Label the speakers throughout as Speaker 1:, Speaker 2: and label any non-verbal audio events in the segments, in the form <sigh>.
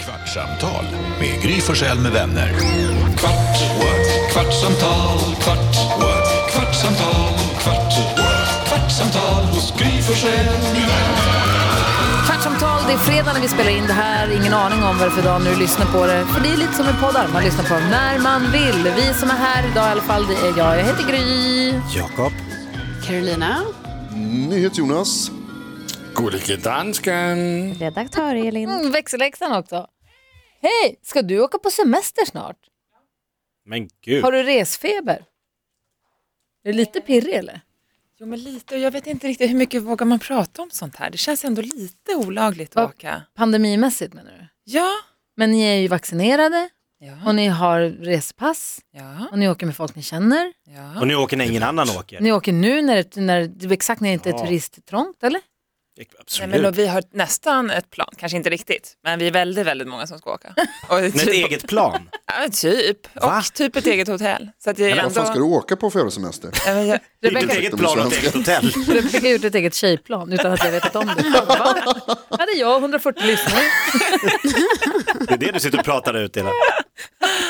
Speaker 1: Kvartsamtal med Gry Forssell med vänner. Kvart, what? kvartsamtal, kvart, what? kvartsamtal, kvart, what? kvartsamtal hos Gry Forssell med vänner.
Speaker 2: Kvartsamtal, det är fredag när vi spelar in det här. Ingen aning om varför idag när du lyssnar på det. För det är lite som en poddar, man lyssnar på dem när man vill. Vi som är här idag i alla fall, det är jag. Jag heter Gry.
Speaker 3: Jakob.
Speaker 4: Carolina.
Speaker 5: NyhetsJonas.
Speaker 6: Gullige dansken.
Speaker 4: Redaktör Elin.
Speaker 2: Mm, växelläxan också. Hej, ska du åka på semester snart?
Speaker 6: Men gud.
Speaker 2: Har du resfeber? Är du lite pirrig eller?
Speaker 7: Jo, men lite. Och jag vet inte riktigt hur mycket vågar man prata om sånt här. Det känns ändå lite olagligt
Speaker 2: Vad-
Speaker 7: att åka.
Speaker 2: Pandemimässigt menar du?
Speaker 7: Ja.
Speaker 2: Men ni är ju vaccinerade
Speaker 7: Ja.
Speaker 2: och ni har respass
Speaker 7: Ja.
Speaker 2: och ni åker med folk ni känner.
Speaker 3: Och
Speaker 7: ja.
Speaker 3: nu åker när ingen annan åker.
Speaker 2: Ni åker nu när det, när, det- exakt när det inte är turisttrångt eller?
Speaker 7: Nej,
Speaker 6: Absolut.
Speaker 7: men och vi har nästan ett plan, kanske inte riktigt, men vi är väldigt, väldigt många som ska åka.
Speaker 3: <laughs>
Speaker 7: Och typ-
Speaker 3: Men ett eget plan.
Speaker 7: Ja, typ.
Speaker 3: Va?
Speaker 7: Och typ ett eget hotell. Så att jag
Speaker 5: Vad
Speaker 7: är
Speaker 5: fan ska du
Speaker 7: ändå...
Speaker 5: åka på för jävla semester?
Speaker 7: Ja, men jag-
Speaker 3: Ett
Speaker 2: Rebecka,
Speaker 5: Ursäkta
Speaker 3: eget
Speaker 5: mig,
Speaker 3: plan och ett
Speaker 5: svenska.
Speaker 3: eget hotell.
Speaker 2: Rebecka gjorde ett eget tjejplan utan att jag vetat om det. <laughs> Va? Hade jag 140 lyssnare.
Speaker 3: Det är det du sitter och pratar ut hela.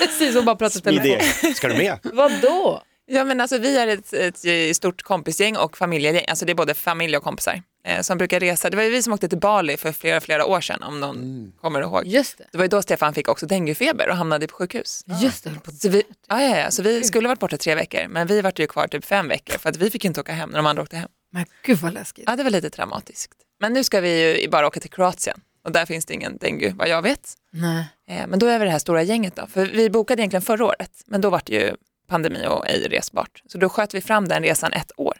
Speaker 2: Precis, hon bara pratade telefon.
Speaker 3: Idé. Ska du med?
Speaker 2: Vadå?
Speaker 7: Ja, men alltså vi är ett, ett stort kompisgäng och familjegäng, alltså det är både familj och kompisar eh, som brukar resa. Det var ju vi som åkte till Bali för flera, flera år sedan om någon
Speaker 5: Mm.
Speaker 7: kommer ihåg.
Speaker 2: Just det.
Speaker 7: Det var ju då Stefan fick också denguefeber och hamnade på sjukhus.
Speaker 2: Just det, jag höll på att
Speaker 7: Så vi, ja, ja, ja, så vi skulle varit borta tre veckor, men vi vart ju kvar typ fem veckor för att vi fick ju inte åka hem när de andra åkte hem.
Speaker 2: Men gud vad läskigt.
Speaker 7: Ja, det var lite dramatiskt. Men nu ska vi ju bara åka till Kroatien och där finns det ingen dengue vad jag vet.
Speaker 2: Nej.
Speaker 7: Eh, Men då är vi det här stora gänget då, för vi bokade egentligen förra året, men då var det ju pandemi och ej resbart. Så då sköt vi fram den resan ett år.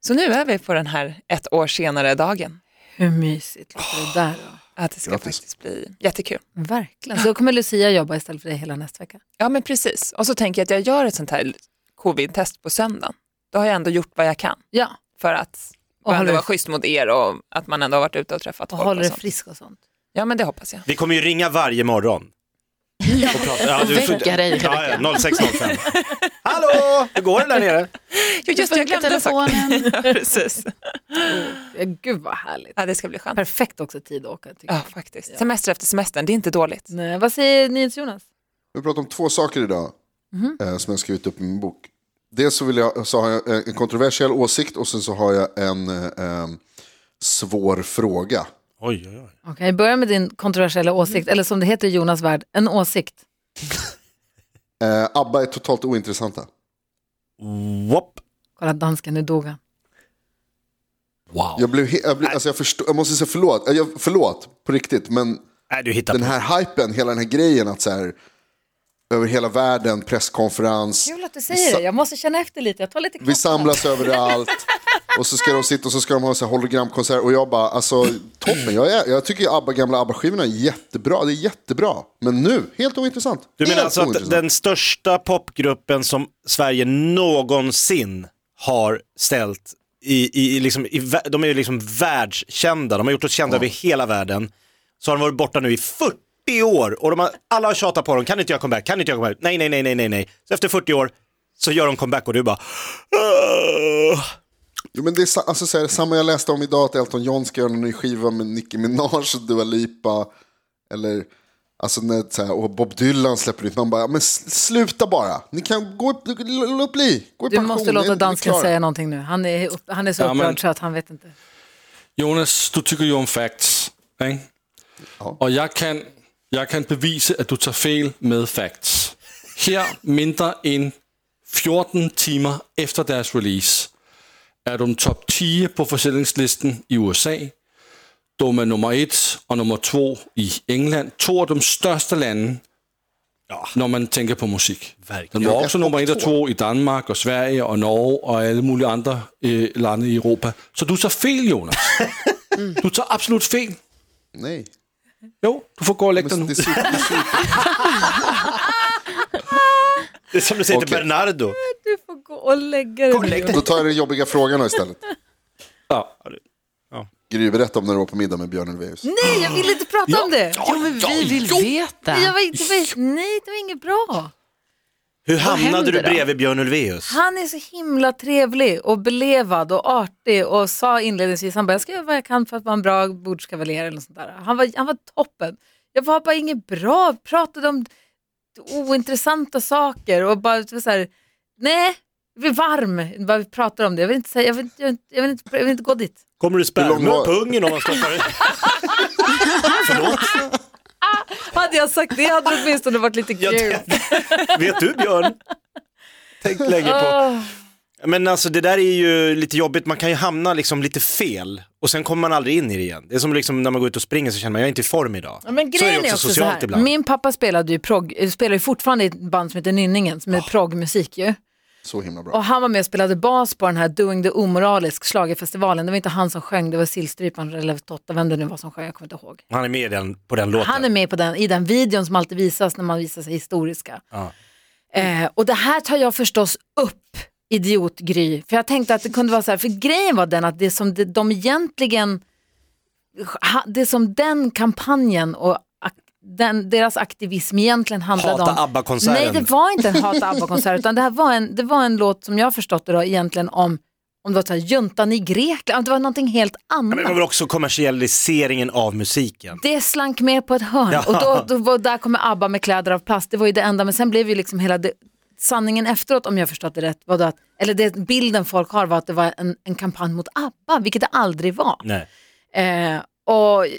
Speaker 7: Så nu är vi på den här ett år senare dagen.
Speaker 2: Hur mysigt låter det där då?
Speaker 7: Att det ska
Speaker 5: Grattis.
Speaker 7: faktiskt bli jättekul.
Speaker 2: Verkligen. Så Då kommer Lucia jobba istället för dig hela nästa vecka.
Speaker 7: Ja men precis, och så tänker jag att jag gör ett sånt här covid-test på söndagen. Då har jag ändå gjort vad jag kan.
Speaker 2: Ja,
Speaker 7: för att
Speaker 2: Och
Speaker 7: och ändå
Speaker 2: håller-
Speaker 7: vara schysst mot er och att man ändå har varit ute och träffat
Speaker 2: och
Speaker 7: folk.
Speaker 2: håller
Speaker 7: Och
Speaker 2: dig
Speaker 7: sånt.
Speaker 2: frisk och sånt.
Speaker 7: Ja men det hoppas jag.
Speaker 3: Vi kommer ju ringa varje morgon. Och prata. Ja, du-
Speaker 4: Väcka dig,
Speaker 3: Ja, ja, 06.05. Hallå, hur går det där nere?
Speaker 7: Jo, just det, jag glömde en sak.
Speaker 4: telefonen.
Speaker 7: <laughs> Ja, Precis.
Speaker 2: Ja, Oh, Gud vad härligt.
Speaker 7: Ja, det ska bli skönt.
Speaker 2: Perfekt också tid att åka. Tycker
Speaker 7: Ja,
Speaker 2: jag.
Speaker 7: faktiskt. Semester efter semestern, det är inte dåligt.
Speaker 2: Nej, vad säger NyhetsJonas?
Speaker 5: Vi pratar om två saker idag eh, som jag har skrivit upp i min bok. Dels så, vill jag, så har jag eh, en kontroversiell åsikt och sen så har jag en eh, eh, svår fråga.
Speaker 6: Oj, oj, oj.
Speaker 2: Okej, börja med din kontroversiella åsikt, eller som det heter i Jonas värld, en åsikt.
Speaker 5: Eh, Abba är totalt ointressanta.
Speaker 6: Whoop.
Speaker 2: Kolla dansken, nu dog han.
Speaker 5: Jag, blev he- jag, blev, alltså jag, förstår, jag måste säga förlåt, Eh, jag, förlåt på riktigt, men
Speaker 3: Nej, Äh, du hittar
Speaker 5: den
Speaker 3: på.
Speaker 5: här hypen, hela den här grejen att så här, över hela världen, presskonferens,
Speaker 2: Kul att du säger det, jag måste känna efter lite, jag tar lite
Speaker 5: Vi samlas överallt. Och så ska de sitta och så ska de ha en sån här hologramkonsert. Och jag bara, alltså toppen. Jag, är, jag tycker ju ABBA, gamla ABBA-skivorna är jättebra. Det är jättebra. Men nu, helt ointressant.
Speaker 3: Du menar
Speaker 5: helt
Speaker 3: alltså att
Speaker 5: ointressant.
Speaker 3: den största popgruppen som Sverige någonsin har ställt i, i, i liksom, i, vä- de är ju liksom världskända, de har gjort oss kända över hela världen. Så har de varit borta nu i 40 år och de har, alla har tjatat på dem, kan inte jag comeback, kan inte jag comeback, nej, nej, nej, nej, nej, nej. Så efter 40 år så gör de comeback och du bara... "Åh."
Speaker 5: Jo, men det är sa- alltså, så här, samma jag läste om idag, att Elton John ska göra en ny skiva med Nicki Minaj och Dua Lipa. Eller, alltså, när, så här, och Bob Dylan släpper ut. Man bara, men s- sluta bara. Ni kan gå upp, låt bli. Gå i
Speaker 2: Du
Speaker 5: pension.
Speaker 2: måste
Speaker 5: Ni är-
Speaker 2: låta
Speaker 5: ni är
Speaker 2: dansken
Speaker 5: klara.
Speaker 2: säga någonting nu. Han är, upp, han är så
Speaker 6: Ja,
Speaker 2: upprörd
Speaker 6: men-
Speaker 2: så att han vet inte.
Speaker 6: Jonas, du tycker ju om facts, ikke? Og jeg kan, jeg kan bevise, at du tager fejl med facts. Her mindre end 14 timer efter deres release, er du top 10 på forsäljningslisten i USA. Du er nummer 1 og nummer 2 i England. To af de største lande, når man tænker på musik. Den var også nummer 1 og 2 i Danmark og Sverige og Norge og alle mulige andre øh, lande i Europa. Så du tager fejl, Jonas. Du tager absolut fejl.
Speaker 5: Nej.
Speaker 6: Jo, du får gå og lægge dig
Speaker 5: Men,
Speaker 6: nu.
Speaker 5: det är super, det är super.
Speaker 3: Det är som du säger till
Speaker 5: Okej.
Speaker 3: Bernardo.
Speaker 2: Du får gå och lägga dig.
Speaker 5: Då tar jag den jobbiga frågan då istället.
Speaker 6: Ja.
Speaker 5: Gry, berätta om när du var på middag med Björn Ulvaeus.
Speaker 2: Nej, jag vill inte prata om det.
Speaker 4: Jo, men vi vill veta.
Speaker 2: Nej, Jag var inte, det var- nej, det var inget bra.
Speaker 3: Hur hamnade
Speaker 4: händer
Speaker 3: du
Speaker 4: då?
Speaker 3: bredvid Björn Ulvaeus?
Speaker 2: Han är så himla trevlig och belevad och artig och sa inledningsvis, han bara, jag ska göra vad jag kan för att vara en bra bordskavaljer eller något sånt där. Han var, han var toppen. Jag Det var bara inget bra, pratade om ointressanta saker och bara det var så här, nej, jag blir varm bara vi pratar om det. Jag vill inte, säga, jag vill, inte- jag vill, inte- jag vill, inte, jag vill inte gå dit.
Speaker 3: Kommer du
Speaker 5: Hur lång
Speaker 3: spärra
Speaker 5: var-
Speaker 3: pungen om man stoppar Förlåt?
Speaker 2: Hade jag sagt det hade det åtminstone varit
Speaker 3: <laughs>
Speaker 2: lite
Speaker 3: Ja,
Speaker 2: kul.
Speaker 3: det, <laughs> vet du Björn? Tänk länge på.
Speaker 2: Åh.
Speaker 3: Men alltså det där är ju lite jobbigt, man kan ju hamna liksom lite fel och sen kommer man aldrig in i det igen. Det är som liksom när man går ut och springer så känner man jag är inte i form idag.
Speaker 2: Ja, men
Speaker 3: så är
Speaker 2: grejen
Speaker 3: det också socialt
Speaker 2: så här.
Speaker 3: ibland.
Speaker 2: Min pappa spelade ju prog, eh, spelar ju fortfarande i ett band som heter Nynningen med progmusik ju.
Speaker 5: Så himla bra.
Speaker 2: Och han var med och spelade bas på den här Doing the Omoralisk schlagerfestivalen. Det var inte han som sjöng, det var Sillstrypan eller Totta, vem det nu var som sjöng, jag kommer inte ihåg.
Speaker 3: Han är med i den, på den låten.
Speaker 2: Han är med på den, i den videon som alltid visas när man visar sig historiska.
Speaker 3: Ja.
Speaker 2: Eh, och det här tar jag förstås upp, idiotgry. För jag tänkte att det kunde vara så här, för grejen var den att det som de, de egentligen, ha- det som den kampanjen och ak- den, deras aktivism egentligen handlade
Speaker 3: Hata
Speaker 2: om.
Speaker 3: ABBA-konserten.
Speaker 2: Nej, det var inte en Hata ABBA-konsert, utan det här var en, det var en låt som jag förstått det då, egentligen om, om det var så här, juntan i Grekland, det var någonting helt annat.
Speaker 3: Ja, Men det var väl också kommersialiseringen av musiken.
Speaker 2: Det slank med på ett hörn
Speaker 3: Ja.
Speaker 2: och då, då, var- där kommer ABBA med kläder av plast. Det var ju det enda, men sen blev ju liksom hela det, sanningen efteråt, om jag förstått det rätt, var då att, eller det bilden folk har var att det var en, en kampanj mot ABBA, vilket det aldrig var.
Speaker 3: Nej.
Speaker 2: Eh, och jag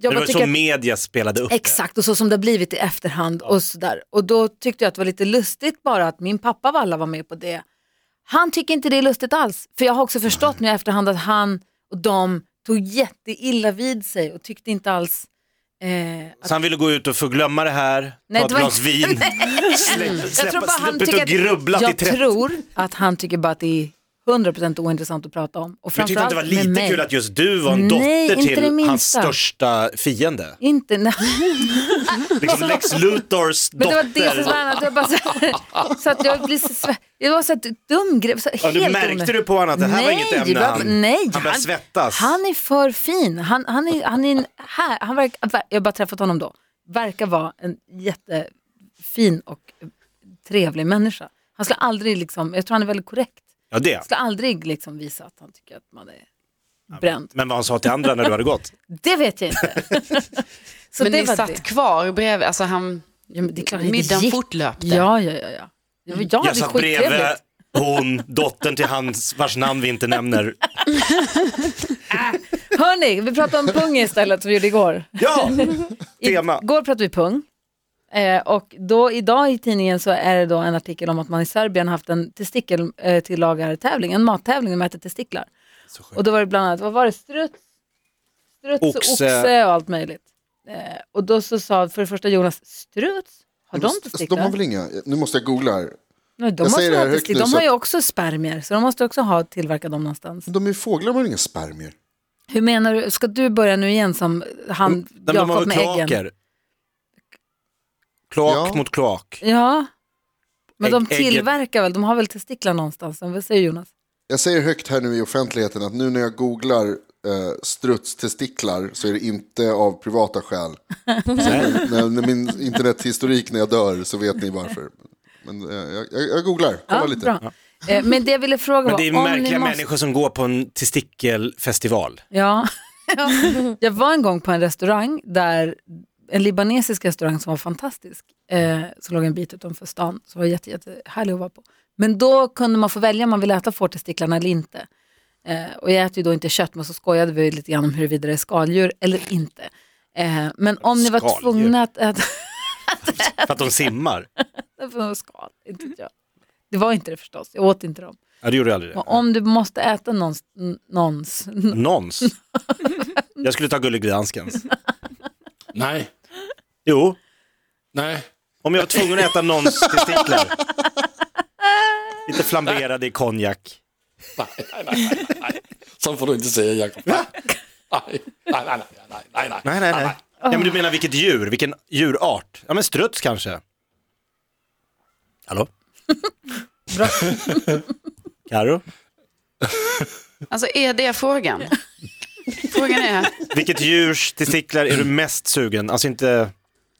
Speaker 3: Det
Speaker 2: bara
Speaker 3: var
Speaker 2: tycker
Speaker 3: så
Speaker 2: att,
Speaker 3: media spelade upp
Speaker 2: Exakt, och så som det har blivit i efterhand och sådär. Och då tyckte jag att det var lite lustigt bara att min pappa Valla var med på det. Han tycker inte det är lustigt alls, för jag har också förstått nu i efterhand att han och de tog jätteilla vid sig och tyckte inte alls eh,
Speaker 3: det. Så han ville gå ut och få glömma det här, ta ett
Speaker 2: det var
Speaker 3: glas
Speaker 2: inte- <laughs>
Speaker 3: vin,
Speaker 2: Nej.
Speaker 3: släppa
Speaker 2: Jag tror
Speaker 3: släpp,
Speaker 2: bara han
Speaker 3: släpp ut
Speaker 2: tycker
Speaker 3: och
Speaker 2: att-
Speaker 3: grubbla till
Speaker 2: Jag
Speaker 3: 30.
Speaker 2: tror att han tycker bara att det är 100% ointressant att prata om. Och
Speaker 3: Men tyckte inte
Speaker 2: framförallt
Speaker 3: det var
Speaker 2: med
Speaker 3: lite
Speaker 2: mig.
Speaker 3: kul att just du var en
Speaker 2: Nej,
Speaker 3: dotter
Speaker 2: inte det
Speaker 3: till hans
Speaker 2: minsta.
Speaker 3: största fiende?
Speaker 2: Inte, <laughs> nej.
Speaker 3: Liksom
Speaker 2: <laughs>
Speaker 3: Lex Luthors
Speaker 2: Men det
Speaker 3: dotter.
Speaker 2: var det som var annat. Jag bara så, här, <laughs> så att jag blir så sve- Det var så att dum grej. Så
Speaker 3: Ja,
Speaker 2: helt
Speaker 3: du märkte
Speaker 2: onödigt.
Speaker 3: du på honom att det här var
Speaker 2: Nej,
Speaker 3: inget ämne
Speaker 2: vad-
Speaker 3: han,
Speaker 2: nej,
Speaker 3: han började
Speaker 2: han-
Speaker 3: svettas.
Speaker 2: Han är för fin. Han, han är, han är en, här, han verk, jag har bara träffat honom då. Verkar vara en jättefin och trevlig människa. Han skulle aldrig liksom, jag tror han är väldigt korrekt.
Speaker 3: Ja det.
Speaker 2: skulle aldrig liksom visa att han tycker att man är bränd.
Speaker 3: Men vad han sa till andra när du
Speaker 2: <laughs>
Speaker 3: hade gått?
Speaker 2: Det vet jag <laughs> inte. Så
Speaker 4: Men
Speaker 2: det
Speaker 4: ni
Speaker 2: var
Speaker 4: satt
Speaker 2: det.
Speaker 4: kvar bredvid, alltså han,
Speaker 2: Ja, men det är klart, det
Speaker 4: middagen
Speaker 2: gick.
Speaker 4: fortlöpte.
Speaker 2: Ja, ja, ja. ja. Jag, jag hade
Speaker 3: Jag satt bredvid
Speaker 2: skittrevligt.
Speaker 3: hon, dottern till hans vars namn vi inte nämner.
Speaker 2: Hörni, vi pratar om pung istället som vi gjorde igår. <laughs>
Speaker 3: Ja, tema.
Speaker 2: Igår pratade vi pung. Eh, och då, idag i tidningen så är det då en artikel om att man i Serbien haft en eh, testikeltillagartävling, en mattävling där man äter testiklar. Och då var det bland annat, vad var det, struts, struts och
Speaker 3: Oxe.
Speaker 2: oxe och allt möjligt. Eh, och då så sa för det första Jonas, struts, har de
Speaker 5: Alltså, de
Speaker 2: testiklar?
Speaker 5: har väl inga, nu måste jag googla här.
Speaker 2: Nej, de,
Speaker 5: Jag
Speaker 2: måste
Speaker 5: säger det
Speaker 2: ha
Speaker 5: här högt
Speaker 2: testiklar. de
Speaker 5: nu, så
Speaker 2: har ju
Speaker 5: att-
Speaker 2: också spermier, så de måste också ha tillverkat dem någonstans.
Speaker 5: De är ju fåglar, de har inga spermier.
Speaker 2: Hur menar du, ska du börja nu igen som han,
Speaker 3: Nej, men de har
Speaker 2: Jakob
Speaker 3: väl
Speaker 2: med äggen?
Speaker 3: kloaker? Kloak
Speaker 5: Ja.
Speaker 3: mot kloak.
Speaker 2: Ja, men de
Speaker 3: Ägg- ägget-
Speaker 2: tillverkar väl, de har väl testiklar någonstans, vad säger Jonas?
Speaker 5: Jag säger högt här nu i offentligheten att nu när jag googlar eh, strutstestiklar så är det inte av
Speaker 2: <laughs>
Speaker 5: privata skäl.
Speaker 3: Nej.
Speaker 5: när, när min internethistorik när jag dör så vet ni varför. Men eh, jag, jag, jag googlar, kolla
Speaker 2: Ja,
Speaker 5: lite.
Speaker 2: bra. Eh, Men det jag ville fråga
Speaker 3: Men
Speaker 2: var
Speaker 3: det är
Speaker 2: om ni
Speaker 3: märkliga
Speaker 2: måste...
Speaker 3: människor som går på en testikelfestival.
Speaker 2: Ja. <laughs> jag var en gång på en restaurang, där en libanesisk restaurang som var fantastisk, eh, som låg en bit utanför stan, som var jätte, jättehärlig att vara på. Men då kunde man få välja om man ville äta fårtestiklarna eller inte. Eh, och jag äter ju då inte kött, men så skojade vi lite grann om huruvida det är skaldjur eller inte. Eh, men om ni var
Speaker 3: Skaldjur.
Speaker 2: tvungna att äta...
Speaker 3: För att
Speaker 2: <laughs>
Speaker 3: de simmar.
Speaker 2: Det var skal, inte vet jag. Det var inte det förstås, jag åt inte dem.
Speaker 3: Ja, det gjorde jag aldrig.
Speaker 2: Men om du måste äta någons, n- någons
Speaker 3: Nons. Jag skulle ta Gullig Danskens.
Speaker 6: Nej,
Speaker 3: Jo,
Speaker 6: nej.
Speaker 3: om jag var tvungen att äta nons testiklar. Lite flamberade i konjak.
Speaker 6: Nej, nej, nej, nej, nej. Så får du inte säga Jakob. Nej, nej, nej, nej, nej, nej, nej.
Speaker 3: Nej, nej, nej. Ja, men du menar vilket djur, vilken djurart? Ja, men struts kanske. Hallå?
Speaker 2: Bra.
Speaker 3: Karo?
Speaker 4: Alltså är det frågan? Frågan är,
Speaker 3: Vilket djurs testiklar är du mest sugen? Alltså inte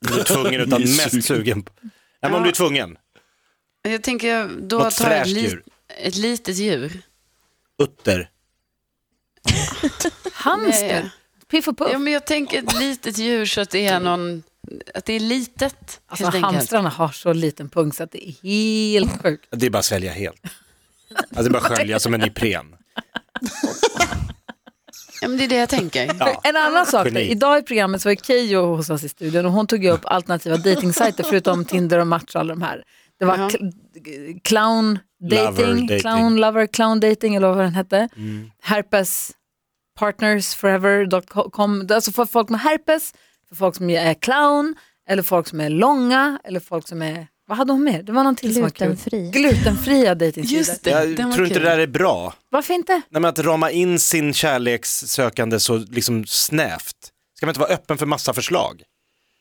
Speaker 3: du är tvungen, utan mest sugen på. Ja, men om du är tvungen.
Speaker 4: jag tänker då
Speaker 3: Något
Speaker 4: tar jag ett,
Speaker 3: fräscht
Speaker 4: lit,
Speaker 3: djur.
Speaker 4: ett litet djur.
Speaker 3: Utter.
Speaker 2: hamster,
Speaker 4: Nej.
Speaker 2: piff och puff.
Speaker 4: Ja, men jag tänker ett litet djur så att det är någon, att det är litet.
Speaker 2: Alltså,
Speaker 4: helt enkelt.
Speaker 2: hamstrarna har så liten pung så att det är helt sjukt.
Speaker 3: Det är bara att svälja helt. Alltså det är bara att skölja som en Ipren.
Speaker 4: Ja, men det är det jag tänker.
Speaker 3: Ja.
Speaker 2: En annan sak, då.
Speaker 3: Geni.
Speaker 2: idag i programmet så var Keyyo hos oss i studion och hon tog ju upp alternativa dejtingsajter förutom Tinder och Match och alla de här. Det var
Speaker 4: Jaha.
Speaker 2: cl- g- clown
Speaker 3: Lover
Speaker 2: dating,
Speaker 3: dating. Mm.
Speaker 2: clown lover, clown dating eller vad den hette. Herpes partners forever.com, alltså för folk med herpes, för folk som är clown eller folk som är långa eller folk som är, vad hade hon mer? Det var någon till som var kul.
Speaker 8: Glutenfri.
Speaker 2: Glutenfria dejtingsidor.
Speaker 4: Just det,
Speaker 3: Jag
Speaker 4: den var
Speaker 3: tror inte
Speaker 4: kul.
Speaker 3: det där är bra.
Speaker 2: Varför inte?
Speaker 3: Nej, men att rama in sin kärlekssökande så liksom snävt. Ska man inte vara öppen för massa förslag?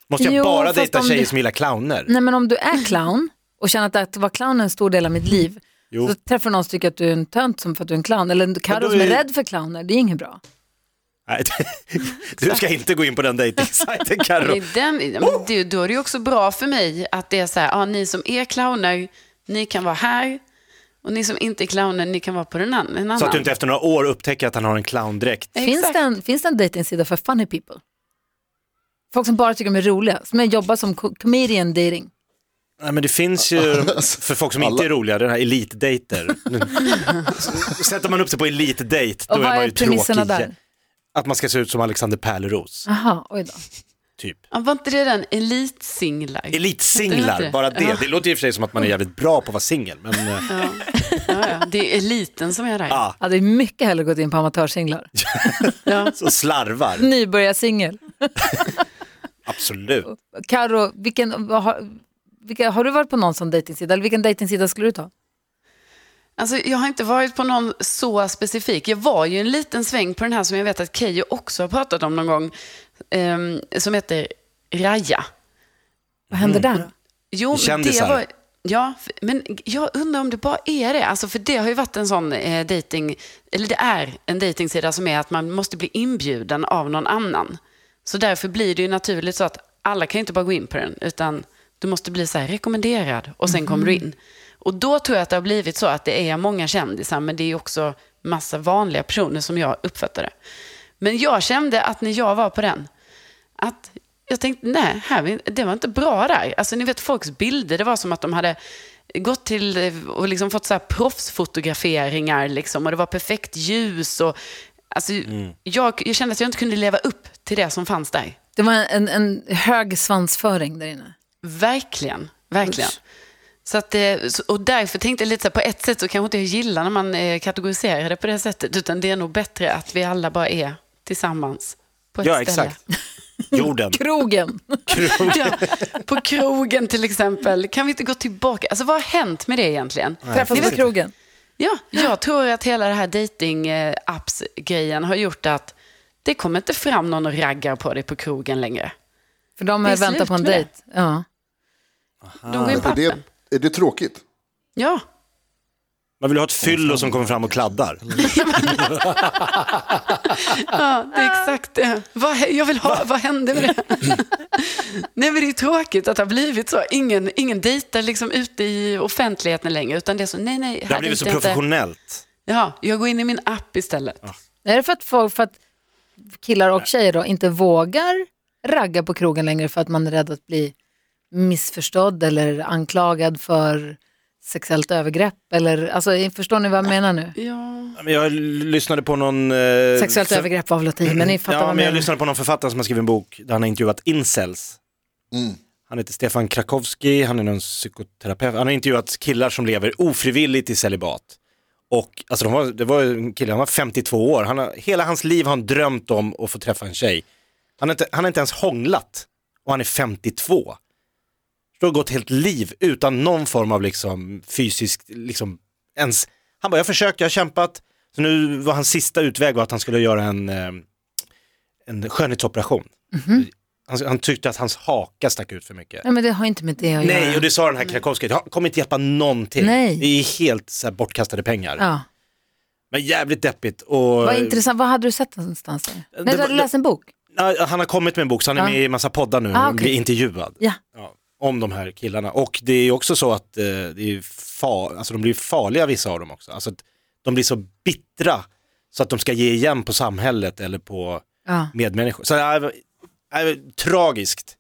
Speaker 3: Måste jag
Speaker 2: Jo,
Speaker 3: bara
Speaker 2: fast
Speaker 3: dejta
Speaker 2: om
Speaker 3: tjejer
Speaker 2: det-
Speaker 3: som gillar clowner?
Speaker 2: Nej men om du är clown och känner att att vara clown är en stor del av mitt liv,
Speaker 3: Jo.
Speaker 2: så träffar någon som tycker att du är en tönt som för att du är en clown, eller en Carro
Speaker 3: då
Speaker 2: som är
Speaker 3: är-
Speaker 2: rädd för clowner, det är inget bra.
Speaker 3: Nej, <laughs> du ska inte gå in på
Speaker 2: <laughs>
Speaker 3: den dejtingsajten Carro.
Speaker 4: Det är den, ja, men det, då är det ju också bra för mig att det är så här, ja, ni som är clowner, ni kan vara här. Och ni som inte är clowner, ni kan vara på den an- en annan.
Speaker 3: Så att du inte efter några år upptäcker att han har en clowndräkt.
Speaker 2: Finns det, en, finns det en dejtingsida för funny people? Folk som bara tycker de är roliga, som jag jobbar som co- comedian dating.
Speaker 3: Nej, men det finns ju, för folk som inte är roliga, den här elitdejter.
Speaker 2: <laughs>
Speaker 3: S- Sätter man upp sig på elitdejt, då
Speaker 2: Och
Speaker 3: är
Speaker 2: vad
Speaker 3: man
Speaker 2: är
Speaker 3: ju tråkig.
Speaker 2: premisserna där?
Speaker 3: Att man ska se ut som Alexander Pärleros,
Speaker 2: Aha, oj då.
Speaker 3: typ.
Speaker 4: Ja, var inte det den elitsinglar? Det
Speaker 3: Elitsinglar,
Speaker 4: låter-
Speaker 3: bara det.
Speaker 4: Ja.
Speaker 3: Det låter i och för sig som att man är jävligt bra på att vara singel, men
Speaker 2: <laughs>
Speaker 3: eh,
Speaker 4: ja. Ja, ja. Det är eliten som är där.
Speaker 3: Ja.
Speaker 2: Jag hade mycket hellre gått in på
Speaker 3: <laughs>
Speaker 2: amatörsinglar.
Speaker 4: Ja.
Speaker 3: så slarvar.
Speaker 2: Nybörjarsingel.
Speaker 3: Absolut.
Speaker 2: Carro, vilken, vad har, vilka, har du varit på någon sån dejtingsida, eller vilken dejtingsida skulle du ta?
Speaker 4: Alltså, jag har inte varit på någon så specifik. Jag var ju en liten sväng på den här som jag vet att Keyyo också har pratat om någon gång, ehm, som heter Raja.
Speaker 2: Vad händer
Speaker 3: Mm.
Speaker 2: där då?
Speaker 4: Jo, men det
Speaker 3: Kändisar.
Speaker 4: var, ja, f- men jag undrar om det bara är det. Alltså, för det har ju varit en sån eh, dating, eller det är en dejtingsida som är att man måste bli inbjuden av någon annan. Så därför blir det ju naturligt så att alla kan ju inte bara gå in på den, utan du måste bli så här rekommenderad och sen kommer du in. Och då tror jag att det har blivit så att det är många kändisar, men det är ju också massa vanliga personer som jag uppfattar det. Men jag kände att när jag var på den, att jag tänkte, nej, här, det var inte bra där. Alltså ni vet folks bilder, det var som att de hade gått till eh, och liksom fått så här proffsfotograferingar liksom, och det var perfekt ljus. Och, alltså,
Speaker 3: Mm.
Speaker 4: jag, jag kände att jag inte kunde leva upp till det som fanns där.
Speaker 2: Det var en, en hög svansföring där inne.
Speaker 4: Verkligen, verkligen. Så att, eh, så- och därför tänkte jag lite så här, på ett sätt så kanske inte jag gillar när man eh, kategoriserar det på det sättet, utan det är nog bättre att vi alla bara är tillsammans på ett
Speaker 3: Ja,
Speaker 4: ställe.
Speaker 2: <laughs>
Speaker 3: exakt. Jorden.
Speaker 2: Krogen.
Speaker 4: Ja, på krogen till exempel. Kan vi inte gå tillbaka? Alltså vad har hänt med det egentligen?
Speaker 2: Träffas på krogen.
Speaker 4: Ja, jag tror att hela det här dating eh, apps grejen har gjort att det kommer inte fram någon och raggar på dig på krogen längre.
Speaker 2: För de eh,
Speaker 4: Det är
Speaker 2: väntar
Speaker 4: slut
Speaker 2: på en
Speaker 4: med det.
Speaker 2: dejt. Ja.
Speaker 4: De går in på
Speaker 5: Är Ah. det,
Speaker 4: appen.
Speaker 5: är det tråkigt?
Speaker 4: Ja,
Speaker 3: Man vill ha ett fyllo som kommer fram och kladdar.
Speaker 4: ja, det är exakt det. Vad, hä- jag vill ha, vad hände med det? <laughs> Nej, men det är ju tråkigt att det har blivit så. Ingen, ingen dejtar liksom ute i offentligheten längre, utan det är så, nej, nej.
Speaker 3: Det
Speaker 4: här
Speaker 3: har blivit så
Speaker 4: dejtar jag inte.
Speaker 3: professionellt. Ah.
Speaker 4: Ja, jag går in i min app istället.
Speaker 2: Är det för att, folk, för att killar och tjejer då inte vågar ragga på krogen längre för att man är rädd att bli missförstådd eller anklagad för sexuellt övergrepp? Eller, alltså, förstår ni vad jag menar nu?
Speaker 4: Ja.
Speaker 3: Men Jag lyssnade på någon... eh,
Speaker 2: Sexuellt
Speaker 3: för-
Speaker 2: övergrepp var väl att ta i, men ni fattar
Speaker 3: ja,
Speaker 2: vad jag
Speaker 3: men jag
Speaker 2: menar.
Speaker 3: lyssnade på någon författare som har skrivit en bok där han har intervjuat incels.
Speaker 5: Mm.
Speaker 3: Han heter Stefan Krakowski, han är någon psykoterapeut. Han har intervjuat killar som lever ofrivilligt i celibat. Och alltså, de var, det var en kille, han var 52 år. Han har, hela hans liv har han drömt om att få träffa en tjej. Han har inte, han har inte ens hånglat och han är 52. Då har gått helt liv utan någon form av liksom, fysisk, liksom, ens, han bara jag har försökt, jag har kämpat. Så nu var hans sista utväg var att han skulle göra en, eh, en skönhetsoperation.
Speaker 2: Mhm.
Speaker 3: Han, han tyckte att hans haka stack ut för mycket.
Speaker 2: Nej, men det har inte med det att
Speaker 3: Nej,
Speaker 2: göra.
Speaker 3: och det sa den här Krakowska, det kommer inte hjälpa någonting.
Speaker 2: Nej.
Speaker 3: Det är helt så här, bortkastade pengar.
Speaker 2: Ja.
Speaker 3: Men jävligt deppigt. Och,
Speaker 2: Vad intressant, vad hade du sett någonstans? Där? Nej, du hade
Speaker 3: var-
Speaker 2: läst en bok?
Speaker 3: Ja, han har kommit med en bok, så han är
Speaker 2: Ja.
Speaker 3: med i en massa poddar nu,
Speaker 2: Ah,
Speaker 3: Han
Speaker 2: okej.
Speaker 3: blir intervjuad.
Speaker 2: Ja.
Speaker 3: om de här killarna. Och det är ju också så att eh, det är fa- alltså, de blir farliga vissa av dem också. Alltså, att de blir så bittra så att de ska ge igen på samhället eller på
Speaker 2: ja.
Speaker 3: medmänniskor. Så, äh, äh, tragiskt.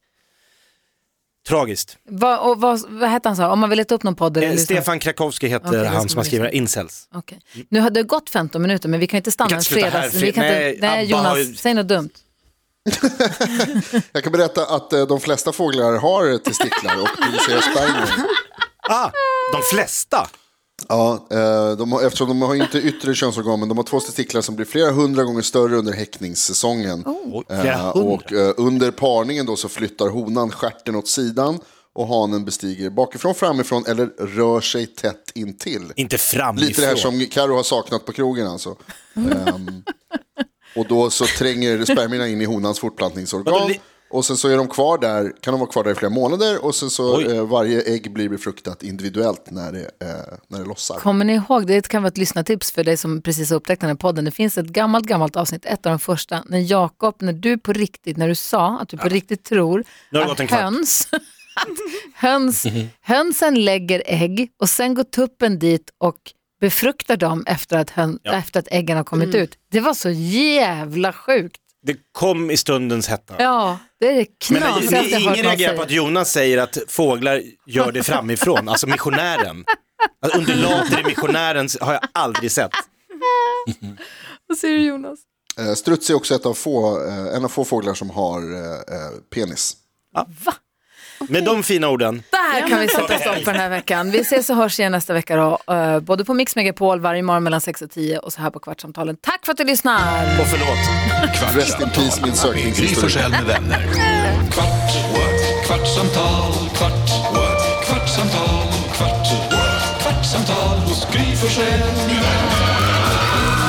Speaker 3: Tragiskt.
Speaker 2: Vad, och vad, vad hette han så? Om man vill leta upp någon podd? eller
Speaker 3: Eh,
Speaker 2: lyssna-
Speaker 3: Stefan Krakowski heter
Speaker 2: Okej, det
Speaker 3: han
Speaker 2: ska
Speaker 3: som har
Speaker 2: vi
Speaker 3: skrivit Incels.
Speaker 2: Okej. Nu har det gått 15 minuter men vi kan ju inte stanna
Speaker 3: kan
Speaker 2: en
Speaker 3: inte sluta här,
Speaker 2: fredags...
Speaker 3: för- nej,
Speaker 2: nej
Speaker 3: ABBA har
Speaker 2: Jonas,
Speaker 3: ju-
Speaker 2: säg något dumt.
Speaker 5: Jag kan berätta att eh, de flesta fåglar har testiklar och producerar spermier.
Speaker 3: Ah, de flesta.
Speaker 5: Ja, eh, de har, eftersom de har inte yttre könsorgan, men de har två testiklar som blir flera hundra gånger större under häckningssäsongen.
Speaker 3: Oj,
Speaker 5: Eh,
Speaker 3: flera hundra.
Speaker 5: och eh, under parningen då så flyttar honan stjärten åt sidan och hanen bestiger bakifrån, framifrån eller rör sig tätt intill.
Speaker 3: Inte framifrån.
Speaker 5: Lite det här som Karo har saknat på krogen alltså. Ehm, och då så tränger spermierna in i honans
Speaker 3: Vadå,
Speaker 5: fortplantningsorgan.
Speaker 3: li-
Speaker 5: Och sen så är de kvar där, kan de vara kvar där i flera månader och sen så
Speaker 3: Oj.
Speaker 5: eh, varje ägg blir befruktat individuellt när det, eh, när det lossar.
Speaker 2: Kommer ni ihåg, det kan vara ett lyssnartips för dig som precis har upptäckt den här podden. Det finns ett gammalt, gammalt avsnitt, ett av de första, när Jakob, när du på riktigt, när du sa att du på riktigt tror
Speaker 3: Nu har det
Speaker 2: att
Speaker 3: gått en kvart.
Speaker 2: höns, <laughs> att höns, hönsen lägger ägg och sen går tuppen dit och befruktar dem efter att, hön, efter att äggen har kommit ut. Det var så jävla sjukt.
Speaker 3: Det kom i stundens hetta.
Speaker 2: Ja, det är det
Speaker 3: Men ni,
Speaker 2: knasigaste jag
Speaker 3: ni,
Speaker 2: har hört
Speaker 3: ingen
Speaker 2: någon
Speaker 3: reagerar på
Speaker 2: säga.
Speaker 3: att Jonas säger att fåglar gör det framifrån, alltså missionären. Att undulater i missionären har jag aldrig sett.
Speaker 2: Vad säger du Jonas?
Speaker 5: Eh, struts är också ett av få, eh, en av få fåglar som har eh, eh, penis.
Speaker 3: Med de fina orden,
Speaker 2: Där kan vi sätta stopp för den här veckan. Vi ses och hörs igen nästa vecka då. Eh, Både på Mix Megapol varje morgon mellan 6 och 10 och så här på Kvartsamtalen. Tack för att du lyssnar!
Speaker 3: och förlåt.
Speaker 5: Rest in peace
Speaker 1: med
Speaker 5: min
Speaker 1: Gry
Speaker 5: sökningshistoria.
Speaker 1: Forssell med vänner. Kvart, what? kvartsamtal, kvart, what? kvartsamtal, kvart, what? kvartsamtal hos Gry Forssell med vänner.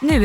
Speaker 8: Nu